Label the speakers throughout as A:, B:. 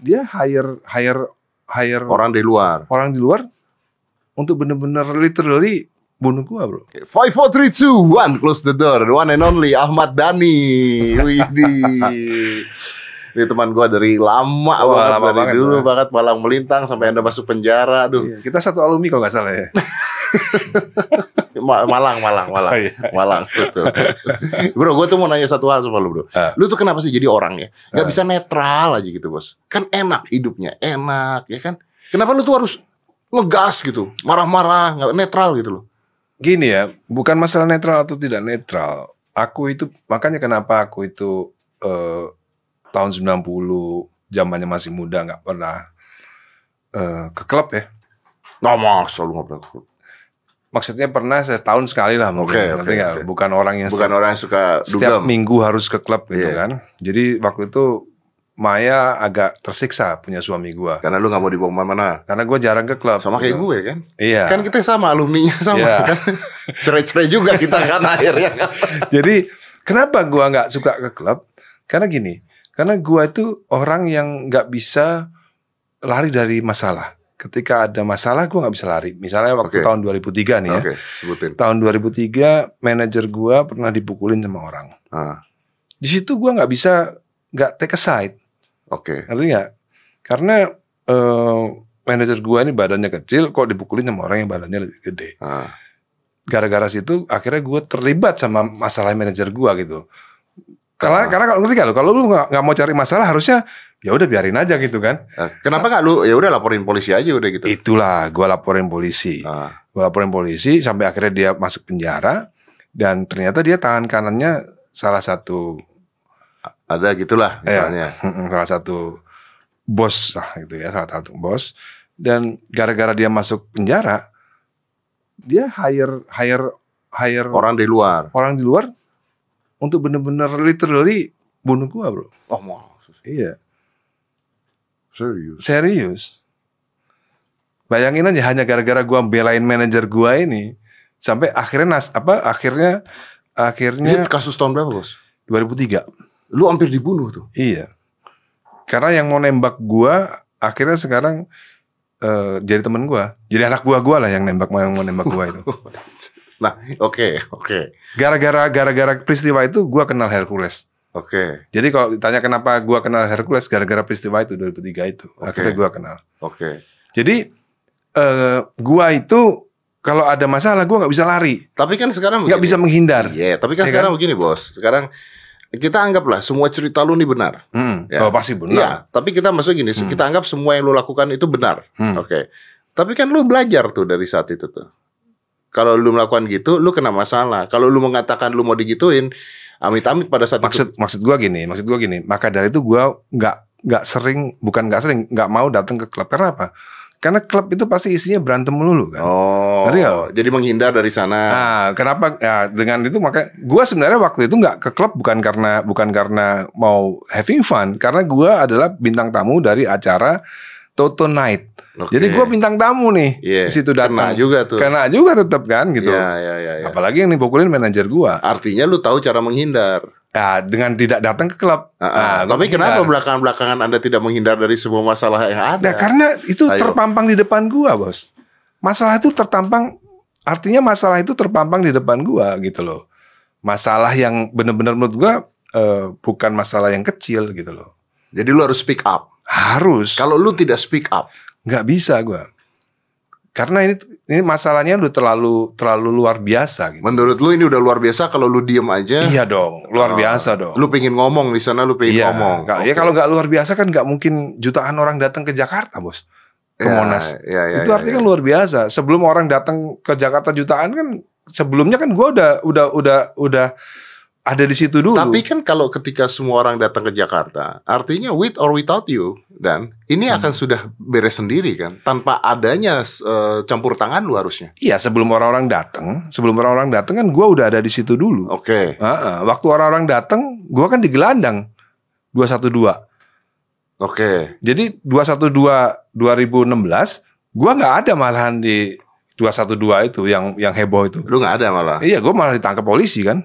A: dia hire hire hire orang,
B: orang dari luar.
A: di luar untuk bener-bener literally bunuh gua bro.
B: Five, four, three, two, one. Close the door. The one and only Ahmad Dhani. Widih. Ini teman gua dari lama
A: Wah,
B: banget
A: lama
B: dari
A: banget, ya.
B: dulu
A: Bang.
B: banget malang melintang sampai anda masuk penjara. Aduh,
A: Iya, Kita satu alumni kalau nggak salah ya.
B: Ma- Malang, Malang, Malang,
A: Oh, iya.
B: Malang, betul. bro, gue tuh mau nanya satu hal sama lu bro.
A: Ah.
B: Lu tuh kenapa sih jadi orang ya? Gak bisa netral aja gitu bos. Kan enak hidupnya, enak ya kan. Kenapa lu tuh harus ngegas gitu, marah-marah, nggak netral gitu loh.
A: Gini ya, bukan masalah netral atau tidak netral. Aku itu makanya kenapa aku itu eh, tahun 90 zamannya masih muda nggak pernah eh, ke klub ya.
B: Nggak masa lu nggak pernah ke klub.
A: Maksudnya pernah setahun sekali lah mungkin.
B: Oke,
A: Ngerti
B: oke,
A: nggak?
B: oke.
A: Bukan orang yang
B: Bukan orang yang suka
A: setiap
B: dugem.
A: minggu harus ke klub gitu
B: Iya.
A: kan. Jadi waktu itu Maya agak tersiksa punya suami gua
B: Karena lu nggak mau dibawa mana-mana.
A: karena gue jarang ke klub.
B: Sama kayak
A: gitu.
B: gue kan.
A: Iya.
B: Kan kita sama alumninya sama
A: Iya.
B: kan. Cerai-cerai juga kita kan akhirnya kan.
A: Jadi kenapa gua nggak suka ke klub? Karena gini, karena gua itu orang yang nggak bisa lari dari masalah. Ketika ada masalah gua nggak bisa lari. Misalnya waktu
B: Oke.
A: tahun 2003 nih ya.
B: Oke, sebutin.
A: Tahun 2003 manajer gua pernah dipukulin sama orang.
B: Ah,
A: Di situ gua nggak bisa nggak take a side.
B: Oke.
A: Ngerti nggak? Karena eh, manajer gua ini badannya kecil kok dipukulin sama orang yang badannya lebih gede.
B: Ah,
A: gara-gara situ akhirnya gue terlibat sama masalah manajer gue gitu. Karena
B: Kenapa?
A: karena kalau ngerti gak lo, kalau lu nggak nggak mau cari masalah harusnya ya udah biarin aja gitu kan.
B: eh, Kenapa nggak lu ya udah laporin polisi aja udah
A: Iya.
B: gitu.
A: Itulah gue laporin polisi.
B: Ah.
A: Gue laporin polisi sampai akhirnya dia masuk penjara dan ternyata dia tangan kanannya salah satu
B: ada gitulah
A: Iya.
B: misalnya.
A: salah satu bos lah gitu ya, salah satu bos dan gara-gara dia masuk penjara dia hire hire hire
B: Orang di luar.
A: orang di luar untuk bener-bener literally bunuh gua bro.
B: Oh mau
A: Iya.
B: serius.
A: Serius. Bayangin aja hanya gara-gara gua belain manajer gua ini sampai akhirnya nas apa akhirnya
B: Ini
A: akhirnya
B: kasus tahun berapa bos?
A: 2003.
B: Lu hampir dibunuh tuh.
A: Iya. Karena yang mau nembak gua akhirnya sekarang eh, jadi temen gua. Jadi anak gua gua lah yang nembak yang mau nembak gua itu.
B: Nah, oke, oke,
A: Gara-gara gara-gara peristiwa itu gua kenal Hercules.
B: oke,
A: Jadi kalau ditanya kenapa gua kenal Hercules gara-gara peristiwa itu 2003 itu. Akhirnya
B: Oke.
A: gua kenal.
B: oke.
A: Jadi eh gua itu kalau ada masalah gua nggak bisa lari,
B: Tapi kan sekarang
A: nggak bisa
B: begini.
A: menghindar.
B: Iya, tapi kan
A: Iya
B: sekarang begini bos. Sekarang kita anggaplah semua cerita lu nih benar.
A: Hmm.
B: Ya.
A: Oh, pasti benar.
B: Iya, tapi kita masuk gini,
A: Hmm.
B: kita anggap semua yang lu lakukan itu benar.
A: Hmm.
B: Oke. Tapi kan lu belajar tuh dari saat itu tuh. Kalau lu melakukan gitu, lu kena masalah. Kalau lu mengatakan lu mau digituin, amit-amit pada saat itu.
A: Maksud maksud gua gini, maksud gua gini. Maka dari itu gua nggak nggak sering, bukan nggak sering, nggak mau datang ke klub. Karena apa? Karena klub itu pasti isinya berantem melulu kan.
B: Oh,
A: Ngerti nggak, Bos?
B: jadi menghindar dari sana.
A: Nah, kenapa ya, dengan itu maka gua sebenarnya waktu itu nggak ke klub bukan karena bukan karena mau having fun, karena gua adalah bintang tamu dari acara Toto Night.
B: Oke.
A: Jadi gua bintang tamu nih
B: Iya,
A: di situ
B: kena
A: datang.
B: juga tuh.
A: Karena juga tetap kan gitu.
B: Iya, iya, iya, iya.
A: Apalagi yang dipukulin manajer gua.
B: Artinya lu tahu cara menghindar.
A: Ya, dengan tidak datang ke klub.
B: Ah, ah.
A: Nah, gua
B: tapi kenapa
A: menghindar.
B: belakangan-belakangan Anda tidak menghindar dari semua masalah yang ada?
A: Nah, karena itu
B: Ya. Ayo.
A: terpampang di depan gua, Bos. Masalah itu tertampang artinya masalah itu terpampang di depan gua gitu loh. Masalah yang benar-benar menurut gua eh, bukan masalah yang kecil gitu loh.
B: Jadi lu harus speak up.
A: Harus.
B: Kalau lu tidak speak up,
A: nggak bisa gua. Karena ini ini masalahnya udah terlalu terlalu luar biasa gitu.
B: menurut lu ini udah luar biasa kalau lu diem aja.
A: Iya dong, luar
B: Ah,
A: biasa dong.
B: Lu pengen ngomong di sana lu pengen
A: Iya,
B: ngomong.
A: nggak- ya
B: Oke.
A: kalau nggak luar biasa kan nggak mungkin jutaan orang datang ke Jakarta, bos. Ke
B: Ya,
A: Monas.
B: ya, ya,
A: itu
B: ya,
A: artinya
B: ya.
A: kan luar biasa. Sebelum orang datang ke Jakarta jutaan kan sebelumnya kan gua udah udah udah udah ada di situ dulu.
B: Tapi kan kalau ketika semua orang datang ke Jakarta, artinya with or without you dan ini
A: Hmm.
B: akan sudah beres sendiri kan, tanpa adanya eh, campur tangan lu harusnya.
A: iya sebelum orang-orang datang, sebelum orang-orang datang kan gua udah ada di situ dulu.
B: Oke,
A: Ah, ah. Waktu orang-orang datang, gua kan di gelandang 212.
B: oke.
A: Jadi 212 2016 gua nggak ada malahan di 212 itu yang yang heboh itu.
B: Lu nggak ada malah.
A: Iya, gue malah ditangkap polisi kan.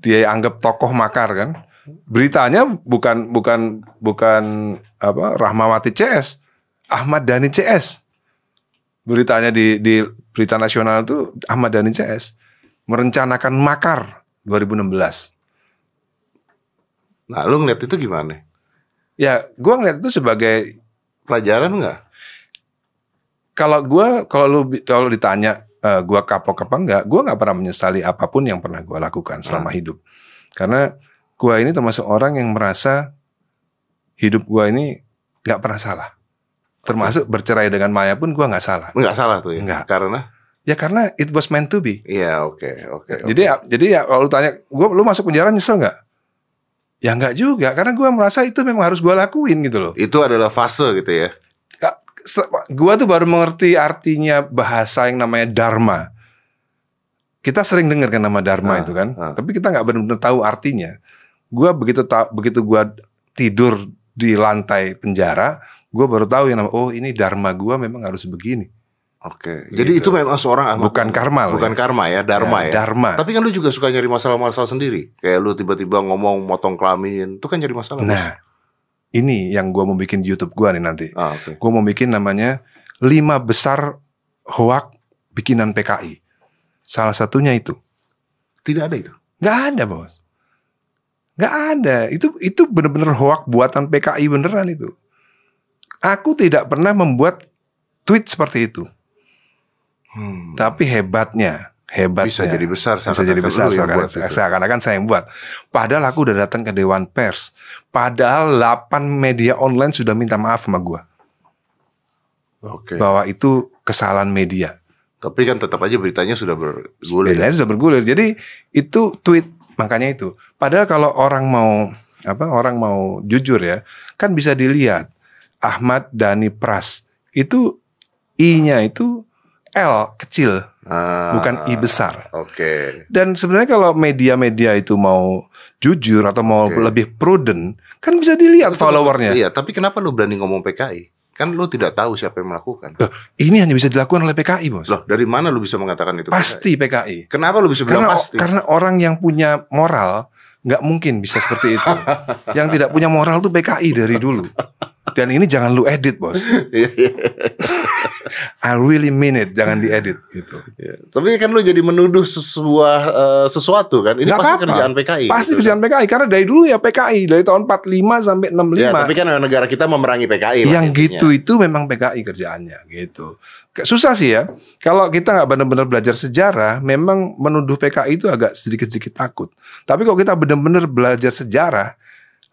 A: Dia anggap tokoh makar kan. beritanya bukan bukan bukan apa Rahmawati CS, Ahmad Dhani CS. Beritanya di di berita nasional itu Ahmad Dhani CS merencanakan makar 2016.
B: Nah, lu ngeliat itu gimana?
A: Ya, gua ngeliat itu sebagai
B: Pelajaran nggak?
A: kalau gua kalau lu bi- kalau ditanya eh, gua kapok apa enggak, gua nggak pernah menyesali apapun yang pernah gua
B: Ah.
A: lakukan selama hidup. Karena gua ini termasuk orang yang merasa hidup gua ini nggak pernah salah. Termasuk bercerai dengan Maya pun gua nggak salah.
B: Nggak salah tuh ya?
A: Nggak.
B: Karena?
A: Ya karena it was meant to be.
B: Iya, oke, oke. oke.
A: Jadi ya- jadi ya kalau lu tanya gua lu masuk penjara nyesel nggak? Ya nggak juga karena gua merasa itu memang harus gua lakuin gitu loh.
B: itu adalah fase gitu ya.
A: Se- gua tuh baru mengerti artinya bahasa yang namanya dharma. Kita sering dengar kan nama dharma
B: Ah,
A: itu kan,
B: ah.
A: tapi kita nggak benar-benar tahu artinya. Gua begitu ta- begitu gua tidur di lantai penjara, gua baru tahu yang nama oh ini dharma gua memang harus begini.
B: Oke. Jadi
A: Gitu.
B: itu memang seorang Ahmad
A: Bukan
B: Dhani.
A: karma loh.
B: Ah, Bukan
A: ya.
B: karma ya, dharma ya.
A: Dharma.
B: Tapi kan lu juga suka nyari masalah-masalah sendiri. Kayak lu tiba-tiba ngomong motong kelamin, itu kan jadi masalah.
A: Nah, ini yang gua mau bikin di YouTube gua nih nanti.
B: Bos. Ah, oke.
A: Gue mau bikin namanya lima besar hoak bikinan PKI. Salah satunya itu.
B: Tidak ada itu.
A: Gak ada bos. Gak ada. Itu itu bener-bener hoak buatan PKI beneran itu. Aku tidak pernah membuat tweet seperti itu.
B: Hmm.
A: Tapi hebatnya, hebatnya.
B: Bisa jadi besar
A: ya, bisa jadi
B: seakan-akan
A: besar
B: lu yang
A: seakan-
B: buat itu.
A: seakan-akan saya yang buat. Padahal aku udah datang ke Dewan Pers. Padahal 8 media online sudah minta maaf sama gua
B: Oke.
A: bahwa itu kesalahan media.
B: Tapi kan tetap aja beritanya sudah bergulir.
A: Beritanya sudah bergulir. Jadi itu tweet makanya itu. Padahal kalau orang mau apa orang mau jujur ya, kan bisa dilihat Ahmad Dhani Pras itu i-nya itu L kecil,
B: Ah,
A: bukan Kan i besar.
B: Oke.
A: Dan sebenarnya kalau media-media itu mau jujur atau mau
B: Oke.
A: lebih prudent, kan bisa dilihat
B: Itu tetap-
A: followernya.
B: Iya, tapi kenapa lu berani ngomong PKI? Kan lu tidak tahu siapa yang melakukan.
A: Ini hanya bisa dilakukan oleh PKI, Bos.
B: Loh, dari mana lu bisa mengatakan itu?
A: pasti PKI.
B: PKI? Kenapa lu bisa bilang
A: karena
B: pasti?
A: karena orang yang punya moral nggak mungkin bisa seperti itu. yang tidak punya moral tuh PKI dari dulu. Dan ini jangan lu edit bos. I really mean it, jangan diedit gitu.
B: Ya, Tapi kan lu jadi menuduh sebuah eh, sesuatu kan. Ini
A: Nggak
B: pasti
A: apa-apa.
B: kerjaan PKI.
A: Pasti
B: gitu.
A: kerjaan PKI karena dari dulu ya PKI dari tahun 45 sampai 65.
B: Ya, tapi kan negara kita memerangi PKI lah
A: yang
B: intinya.
A: gitu itu memang PKI kerjaannya gitu. Ke- Susah sih ya. Kalau kita nggak benar-benar belajar sejarah, memang menuduh PKI itu agak sedikit-sedikit takut. Tapi kalau kita benar-benar belajar sejarah,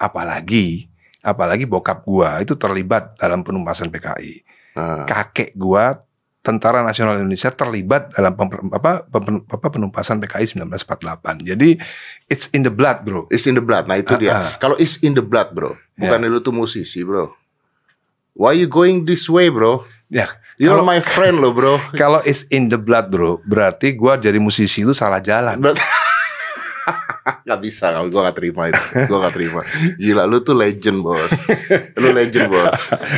A: apalagi apalagi bokap gua itu terlibat dalam penumpasan PKI.
B: Nah,
A: Kakek gua Tentara Nasional Indonesia terlibat dalam pem- apa, pem- apa penumpasan PKI 1948. Jadi it's in the blood, bro.
B: It's in the blood. Nah, itu dia.
A: Ah, ah.
B: Kalau it's in the blood, Bro. Bukan lu tuh musisi, Bro. Why you going this way, Bro?
A: Ya,
B: You're
A: Kalau-
B: my friend lo, Bro.
A: Kalau it's in the blood, bro, berarti gua jadi musisi itu salah jalan.
B: But- Gak bisa, gak- gua gak terima itu Gue gak terima Gila, lu tuh legend bos Lu legend bos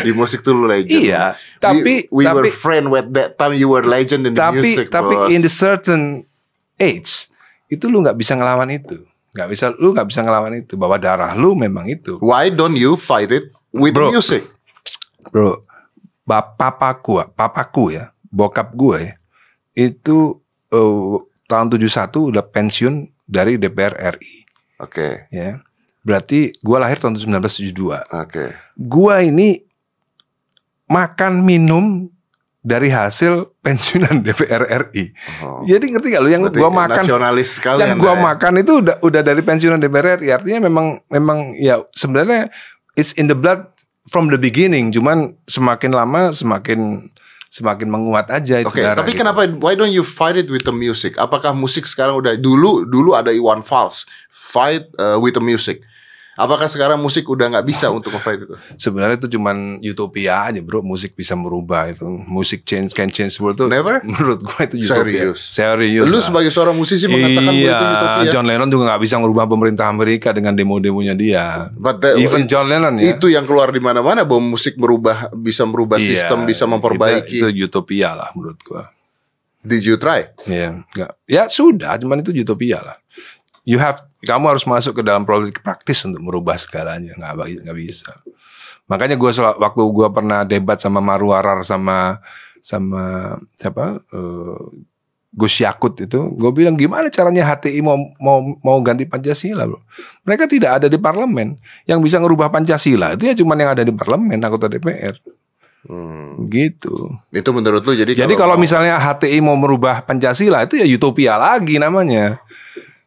B: Di musik tuh lu legend
A: Iya,
B: We-
A: tapi
B: We,
A: tapi
B: were friend with that time You were legend in the
A: tapi
B: music
A: tapi
B: bos
A: in the certain age itu lu nggak bisa ngelawan itu, nggak bisa lu nggak bisa ngelawan itu bahwa darah lu memang itu,
B: Why don't you fight it with
A: Bro.
B: music?
A: bro. Bap- Papaku, papaku ya, bokap gue itu eh, tahun 71 udah pensiun dari DPR RI,
B: Oke,
A: ya. Berarti gua lahir tahun 1972.
B: oke.
A: gua ini makan minum dari hasil pensiunan DPR RI.
B: Oh.
A: Jadi ngerti gak lu yang
B: Berarti
A: gua makan
B: nasionalis sekali ya.
A: yang gua makan itu udah udah dari pensiunan DPR RI. Artinya memang memang ya sebenarnya it's in the blood from the beginning. Cuman semakin lama semakin semakin menguat aja itu
B: Oke,
A: darah
B: tapi
A: gitu.
B: kenapa why don't you fight it with the music? Apakah musik sekarang udah dulu dulu ada Iwan Fals fight uh, with the music. Apakah sekarang musik udah nggak bisa untuk nge-fight itu?
A: sebenarnya itu cuman utopia aja, Bro. Musik bisa merubah itu. Musik change can change world tuh.
B: Never?
A: Menurut gua itu utopia.
B: Serius?
A: Serius.
B: Lu
A: lah.
B: sebagai seorang musisi
A: iya,
B: mengatakan bahwa itu utopia.
A: John Lennon juga nggak bisa merubah pemerintah Amerika dengan demo-demonya dia.
B: But that-
A: Even John Lennon ya.
B: Eh, Itu yang keluar di mana-mana bahwa musik merubah bisa merubah
A: Iya,
B: sistem, bisa
A: Itu,
B: memperbaiki.
A: itu utopia lah menurut gua.
B: Did you try?
A: Iya, nggak- Ya sudah, cuman itu utopia lah. you have kamu harus masuk ke dalam politik praktis untuk merubah segalanya nggak ba- nggak bisa makanya gue waktu gue pernah debat sama Maruarar sama sama siapa eh, Gus Yakut itu gue bilang gimana caranya HTI mau mau mau ganti Pancasila bro mereka tidak ada di parlemen yang bisa ngerubah Pancasila itu ya cuman yang ada di parlemen anggota DPR
B: Hmm.
A: gitu
B: Itu menurut lu jadi
A: jadi kalau
B: mau-
A: misalnya HTI mau merubah Pancasila itu ya utopia lagi namanya.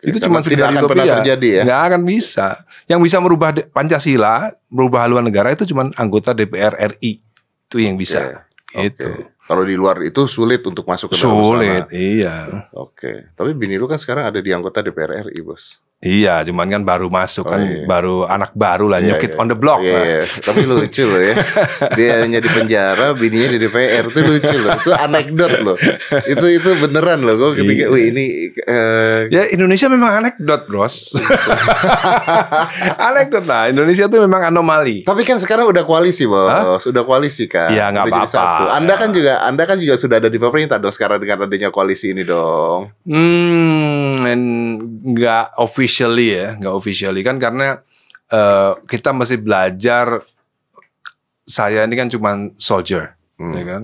A: itu
B: Karena
A: cuma
B: tidak
A: sekedar
B: akan pernah
A: utopia.
B: terjadi ya.
A: Nggak akan bisa. Yang bisa merubah de- Pancasila, merubah haluan negara itu cuma anggota DPR RI. Itu yang bisa.
B: Iya, Oke.
A: Gitu.
B: Kalau di luar itu sulit untuk masuk ke dalam sana.
A: Sulit, iya.
B: Oke, tapi bini lu kan sekarang ada di anggota DPR RI, Bos.
A: Iya, cuman kan baru masuk
B: Oh,
A: kan
B: iya.
A: baru anak baru lah,
B: Iya,
A: new kid
B: iya.
A: on the block
B: Iya,
A: lah.
B: iya. tapi lucu loh ya. Dia hanya di penjara, bininya di DPR itu lucu loh. Itu anekdot loh. Itu itu beneran loh. Gue ketika,
A: Iya.
B: wih ini eh,
A: Ya Indonesia memang anekdot, Bros. anekdot lah. Indonesia tuh memang anomali.
B: tapi kan sekarang udah koalisi bos, sudah koalisi kan.
A: Iya, nggak
B: Udah jadi
A: apa-apa.
B: satu. Anda kan juga, Anda kan juga sudah ada di pemerintah dong sekarang dengan adanya koalisi ini dong.
A: Hmm, en- nggak officially ya, nggak officially kan karena eh, kita masih belajar. Saya ini kan cuman soldier,
B: Hmm.
A: ya kan.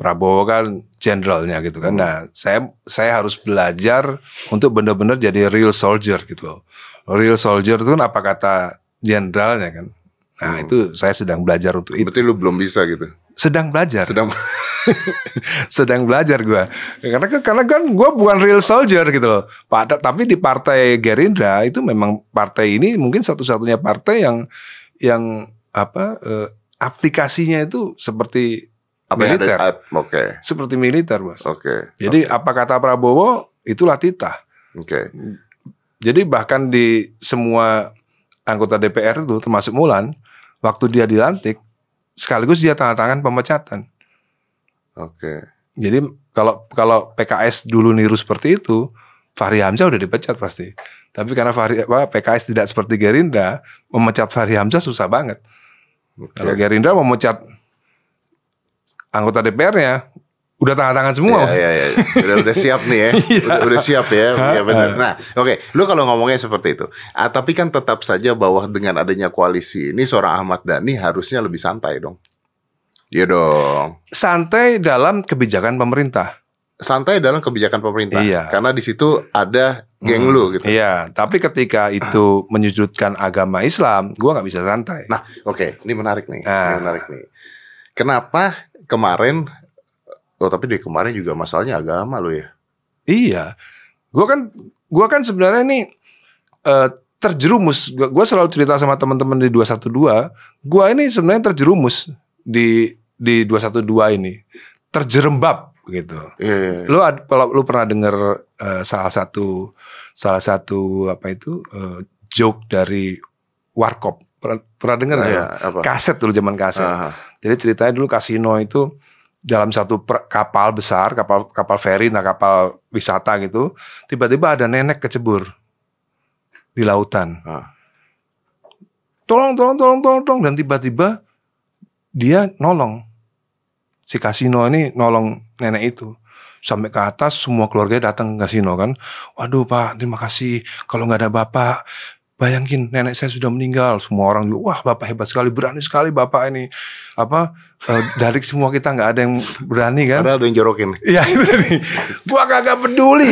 A: Prabowo kan jenderalnya gitu kan.
B: Hmm.
A: Nah, saya saya harus belajar untuk benar-benar jadi real soldier gitu loh. Real soldier itu kan apa kata jenderalnya kan. Nah,
B: Hmm.
A: itu saya sedang belajar untuk itu.
B: Berarti lu belum bisa gitu.
A: Sedang belajar
B: Sedang
A: sedang belajar gua karena kan- karena kan gua bukan real soldier gitu loh Pada, tapi di partai Gerindra itu memang partai ini mungkin satu-satunya partai yang yang apa eh, aplikasinya itu seperti
B: apa yang
A: militer
B: ada? Oke, oke,
A: seperti militer mas
B: oke,
A: jadi apa kata Prabowo itulah titah jadi bahkan di semua anggota DPR itu termasuk Mulan waktu dia dilantik sekaligus dia tanda tangan pemecatan
B: oke.
A: Jadi kalau kalau PKS dulu niru seperti itu, Fahri Hamzah udah dipecat pasti. Tapi karena Fahri apa, PKS tidak seperti Gerindra, memecat Fahri Hamzah susah banget. Kalau
B: Oke.
A: Gerindra memecat anggota DPR-nya udah tanda tangan semua.
B: Iya, iya, iya. Udah, udah siap nih ya. udah, udah siap ya. Iya benar. Nah, oke. Lu kalau ngomongnya seperti itu. Ah, tapi kan tetap saja bahwa dengan adanya koalisi ini seorang Ahmad Dhani harusnya lebih santai dong. Iya dong.
A: Santai dalam kebijakan pemerintah.
B: Santai dalam kebijakan pemerintah.
A: Iya.
B: Karena di situ ada
A: Hmm.
B: geng lu gitu.
A: Iya, tapi ketika itu menyudutkan agama Islam, gua nggak bisa santai.
B: Nah, oke. Ini menarik nih. Ini
A: Ah.
B: menarik nih. Kenapa kemarin Oh, tapi di kemarin juga masalahnya agama lo ya.
A: Iya, gua kan gua kan sebenarnya nih eh, terjerumus. Gua, gua selalu cerita sama teman-teman di 212, gua ini sebenarnya terjerumus di di 212 ini, terjerembab gitu.
B: Iya, iya, iya.
A: Lu ad- kalau lu pernah denger eh, salah satu salah satu apa itu eh, joke dari Warkop pernah, pernah denger nggak?
B: Iya, Ah. apa?
A: Kaset dulu zaman kaset.
B: Aha.
A: Jadi ceritanya dulu kasino itu dalam satu per- kapal besar, kapal kapal feri, nah kapal wisata gitu, tiba-tiba ada nenek kecebur di lautan.
B: Ah.
A: Tolong, tolong, tolong, tolong, tolong, dan tiba-tiba dia nolong si kasino ini nolong nenek itu sampai ke atas semua keluarga datang ke kasino kan waduh pak terima kasih kalau nggak ada bapak bayangin nenek saya sudah meninggal semua orang juga wah bapak hebat sekali berani sekali bapak ini apa eh, dari semua kita nggak ada yang berani kan
B: Ada ada yang jorokin.
A: Iya itu tadi. Gua kagak peduli.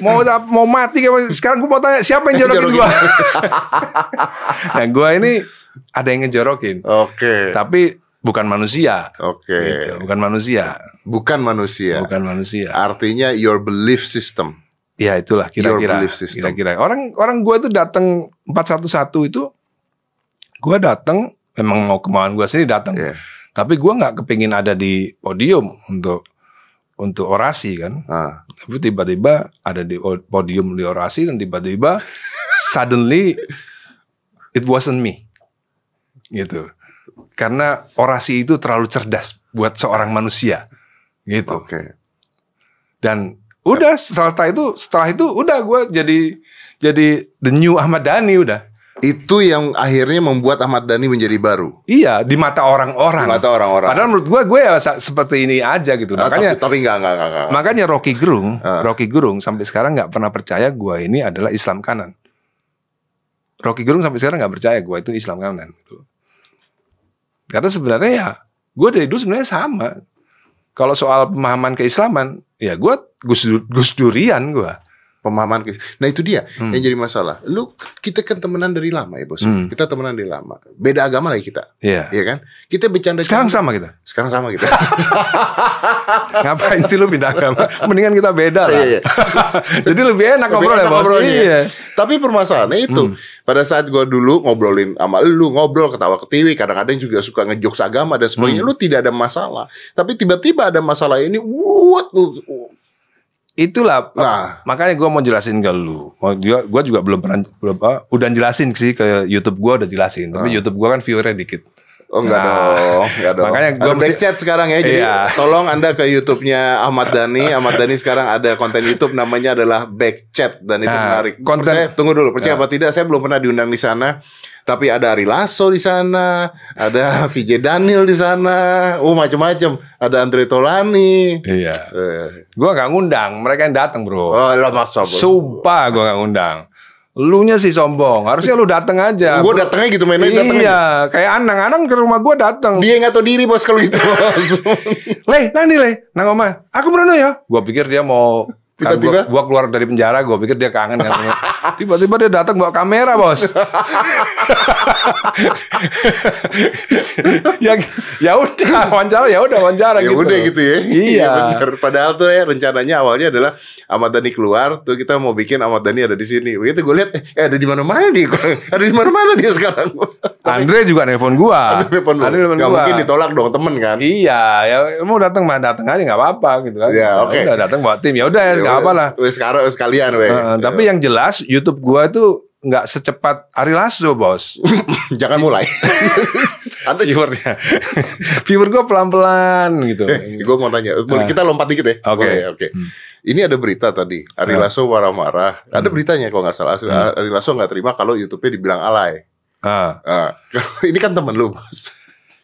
A: Mau mau mati kayak sekarang gua mau tanya siapa yang jorokin gua? nah, gua ini ada yang ngejorokin.
B: Oke.
A: Tapi bukan manusia.
B: Oke. Ya.
A: Gitu, bukan manusia.
B: Bukan manusia.
A: Bukan manusia.
B: Artinya your belief system.
A: Ya itulah
B: Your
A: kira-kira
B: belief system.
A: kira-kira. Orang orang gua itu datang 411 itu gua datang memang mau kemauan gua sini datang.
B: Iya.
A: Tapi gua nggak kepingin ada di podium untuk untuk orasi kan.
B: Ah.
A: tapi tiba-tiba ada di o- podium di orasi dan tiba-tiba suddenly it wasn't me gitu karena orasi itu terlalu cerdas buat seorang manusia gitu
B: Oke.
A: dan udah setelah itu setelah itu udah gue jadi jadi the new Ahmad Dhani udah
B: Itu yang akhirnya membuat Ahmad Dhani menjadi baru.
A: Iya, di mata orang-orang.
B: Di mata orang-orang.
A: Ah. Padahal menurut gue, gue ya sa- seperti ini aja gitu.
B: Ah,
A: Makanya
B: tapi, tapi enggak, enggak, enggak, enggak.
A: Makanya Rocky Gerung,
B: Ah.
A: Rocky Gerung sampai sekarang nggak pernah percaya gua ini adalah Islam kanan. Rocky Gerung sampai sekarang nggak percaya gua itu Islam kanan. gitu. Karena sebenarnya ya, gue dari dulu sebenarnya sama. Kalau soal pemahaman keislaman, ya gue Gus, Dur- Gus Durian gue.
B: pemahaman ke- nah itu dia yang jadi masalah lu kita kan temenan dari lama ya bos
A: Hmm.
B: kita temenan dari lama beda agama lagi kita
A: Iya.
B: Iya kan kita bercanda
A: Sekarang sama kita.
B: sekarang sama kita
A: Ngapain sih lu pindah agama? Mendingan kita beda lah.
B: Iya, iya.
A: Jadi lebih enak
B: Tapi
A: ngobrolnya
B: enak
A: bos.
B: ngobrolnya.
A: Iya. Hmm.
B: tapi permasalahannya itu pada saat gua dulu ngobrolin sama lu ngobrol ketawa ketiwi kadang-kadang juga suka ngejokes agama dan
A: Hmm.
B: sebagainya lu tidak ada masalah tapi tiba-tiba ada masalah ini wuut lu-
A: Itulah
B: nah
A: Makanya gue mau jelasin ke lu. Gue juga belum pernah, belum, apa, udah jelasin sih ke YouTube gue udah jelasin.
B: Ah.
A: Tapi YouTube gue kan viewernya dikit.
B: Oh enggak
A: Nah.
B: dong, enggak dong.
A: Makanya gua
B: ada
A: mesti-
B: backchat sekarang ya. Jadi
A: Iya.
B: tolong Anda ke YouTube-nya Ahmad Dhani. Ahmad Dhani sekarang ada konten YouTube namanya adalah backchat dan itu
A: Nah,
B: menarik.
A: konten- Nah.
B: Percaya, tunggu dulu, percaya apa tidak saya belum pernah diundang di sana. Tapi ada Ari Lasso di sana, ada VJ Daniel di sana. Oh, macam-macam. Ada Andre Tolani.
A: Iya.
B: Eh,
A: Gue gak ngundang, mereka yang datang bro.
B: Oh, lah masa.
A: Sumpah gue gak ngundang. Lu nya sih sombong. Harusnya lu datang aja.
B: Gue datangnya gitu main main datang. aja.
A: Iya, kayak anang-anang ke rumah gue datang.
B: Dia nggak tahu diri bos kalau gitu.
A: Leh, nang nih leh, nang oma. Aku merono ya. Gua pikir dia mau kan
B: Tiba-tiba?
A: gua, gua keluar dari penjara, gua pikir dia kangen kan. Tiba-tiba dia datang bawa kamera, Bos. ya ya udah wawancara, ya udah wawancara
B: ya
A: gitu.
B: udah gitu ya.
A: Iya.
B: bener. Padahal tuh ya rencananya awalnya adalah Ahmad Dhani keluar, tuh kita mau bikin Ahmad Dhani ada di sini. Begitu gue lihat, eh ada di mana-mana dia. Gua- ada di mana-mana dia sekarang.
A: Andre juga nelpon gua.
B: Telepon lu.
A: Andre nelpon
B: Gak
A: gua.
B: mungkin ditolak dong temen kan.
A: Iya, ya mau datang mah datang aja nggak apa-apa gitu kan.
B: Ya, oke.
A: Udah datang bawa tim. Ya udah ya nggak apa lah.
B: Wes sekarang wes sekalian weh.
A: Heeh, tapi yang jelas YouTube gua itu nggak secepat Ari Lasso, Bos.
B: jangan mulai. Anda juga.
A: viewernya viewer gue pelan pelan gitu
B: Gue mau tanya, Boleh kita lompat dikit ya.
A: Oke. Hmm.
B: Boleh ya, Oke. Ini ada berita tadi, Ari Lasso marah-marah. Ada
A: Hmm.
B: beritanya kalau nggak salah, Ari Lasso nggak terima kalau YouTube-nya dibilang alay.
A: Ah.
B: Ah, ini kan temen lu, bos.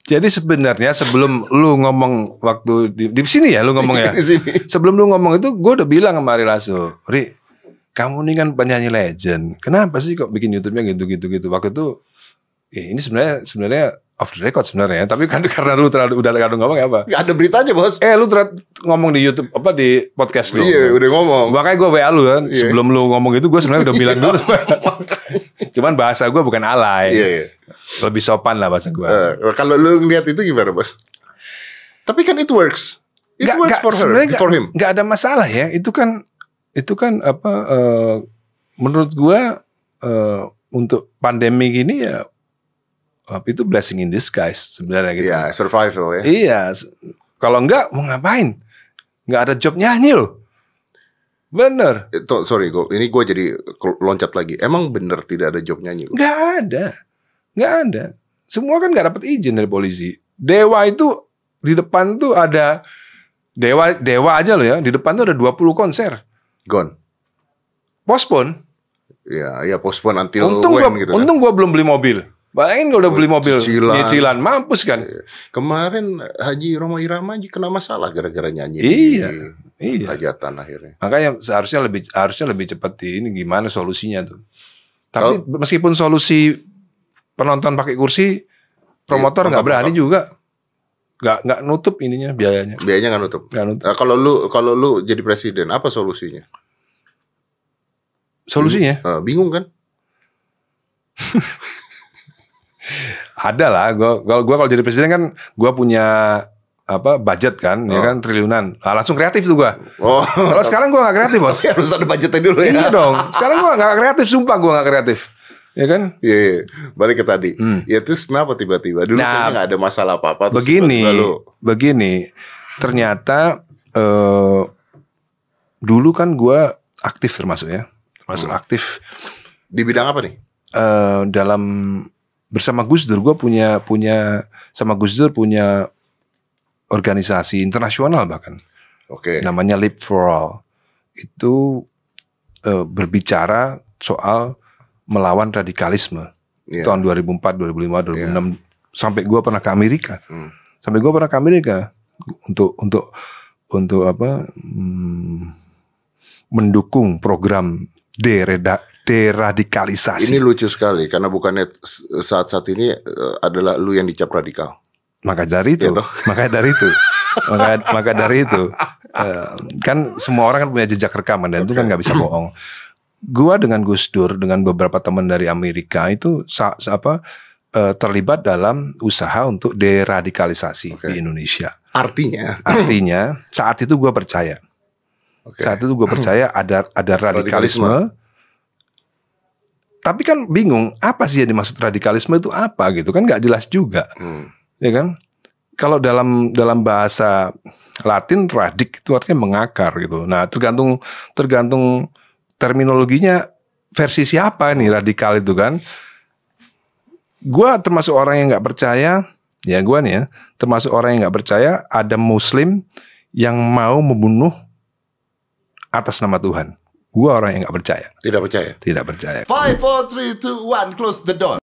A: jadi sebenarnya sebelum lu ngomong waktu di, di sini ya lu ngomong ya
B: Di sini.
A: sebelum lu ngomong itu gue udah bilang sama Ari Lasso Ri kamu ini kan penyanyi legend kenapa sih kok bikin YouTube-nya gitu gitu gitu waktu itu eh, ini sebenarnya sebenarnya off the record sebenarnya tapi kan karena lu terlalu udah terlalu ngomong ya apa
B: Nggak ada beritanya bos.
A: eh lu terlalu ngomong di YouTube apa di podcast lu
B: Iya udah ngomong.
A: Makanya gue WA lu kan Sebelum lu ngomong itu Gue sebenarnya udah bilang dulu Cuman bahasa gue bukan alay
B: Oh, Iya. iya.
A: Lebih sopan lah bahasa gue
B: Eh, kalau lu ngeliat itu gimana bos? Tapi kan it works. It
A: Nggak-
B: works
A: nggak,
B: for her,
A: sebenarnya nggak-
B: for him.
A: nggak ada masalah ya Itu kan Itu kan apa eh, Menurut gue eh, Untuk pandemi gini ya eh, Itu blessing in disguise Sebenarnya gitu
B: Iya survival ya.
A: Iya. S- Kalau enggak mau ngapain Nggak ada job nyanyi loh Bener
B: Eh, to- sorry gue, ini gue jadi ke- loncat lagi. Emang bener tidak ada job nyanyi? Gua?
A: Nggak ada. Nggak ada. Semua kan nggak dapat izin dari polisi. Dewa itu di depan tuh ada Dewa Dewa aja loh ya. Di depan tuh ada 20 konser.
B: Gone.
A: Postpone.
B: Ya, ya postpone until
A: Untung
B: when
A: gua
B: gitu. kan.
A: untung gua belum beli mobil. Bayangin gua udah beli mobil
B: cicilan.
A: nyicilan mampus kan.
B: Kemarin Haji Roma Irama aja kena masalah gara-gara nyanyi
A: Iya.
B: di
A: Iya.
B: hajatan akhirnya.
A: Makanya seharusnya lebih harusnya lebih cepat di ini gimana solusinya tuh. Tapi
B: Kalau-
A: meskipun solusi penonton pakai kursi promotor
B: Iya,
A: nggak berani
B: penonton-
A: juga. Nggak nggak nutup ininya biayanya.
B: Biayanya nggak nutup.
A: Nggak nutup.
B: Eh, kalau lu kalau lu jadi presiden apa solusinya?
A: Solusinya
B: Eh, bingung kan?
A: Ada lah, gua gua, gua kalau jadi presiden kan gua punya apa budget kan, ya
B: Oh.
A: kan triliunan. Nah, langsung kreatif tuh gua.
B: Oh,
A: Kalau sekarang gua nggak kreatif bos.
B: tapi harus ada budgetnya dulu ya.
A: iya dong. Sekarang gua nggak kreatif, sumpah gua nggak kreatif. Ya kan?
B: Iya, iya. balik ke tadi.
A: Hmm.
B: Ya terus kenapa tiba-tiba? Dulu
A: Nah,
B: kayaknya nggak ada masalah apa-apa. terus
A: Begini,
B: tiba-tiba lu,
A: begini. Ternyata eh dulu kan gua aktif termasuk ya, termasuk
B: Hmm.
A: aktif
B: di bidang apa nih?
A: eh dalam bersama Gus Dur. Gua punya punya sama Gus Dur punya organisasi internasional bahkan.
B: Oke.
A: namanya Lip for All itu eh, berbicara soal melawan radikalisme
B: Iya.
A: tahun 2004, 2005, 2006
B: Iya.
A: sampai gua pernah ke Amerika.
B: Hmm.
A: Sampai gua pernah ke Amerika untuk untuk untuk apa? hmm, mendukung program dereda, deradikalisasi.
B: Ini lucu sekali karena bukannya saat saat ini eh, adalah lu yang dicap radikal.
A: maka dari itu,
B: Iya toh.
A: maka dari itu, maka maka dari itu, eh, kan semua orang kan punya jejak rekaman dan itu kan nggak bisa bohong. Gua dengan Gus Dur dengan beberapa teman dari Amerika itu sa- sa- apa eh, terlibat dalam usaha untuk deradikalisasi
B: Oke.
A: di Indonesia.
B: Artinya,
A: Artinya saat itu gua percaya,
B: oke.
A: saat itu gue percaya ada ada radikalisme. Tapi kan bingung apa sih yang dimaksud radikalisme itu apa gitu kan nggak jelas juga
B: Hmm,
A: ya kan? Kalau dalam dalam bahasa Latin radik itu artinya mengakar gitu. Nah tergantung tergantung terminologinya versi siapa nih radikal itu kan? Gua termasuk orang yang nggak percaya, ya gua nih ya termasuk orang yang nggak percaya ada Muslim yang mau membunuh atas nama Tuhan. Gua orang yang nggak percaya,
B: tidak percaya.
A: tidak percaya.
B: Five, four, three, two, one, close the door.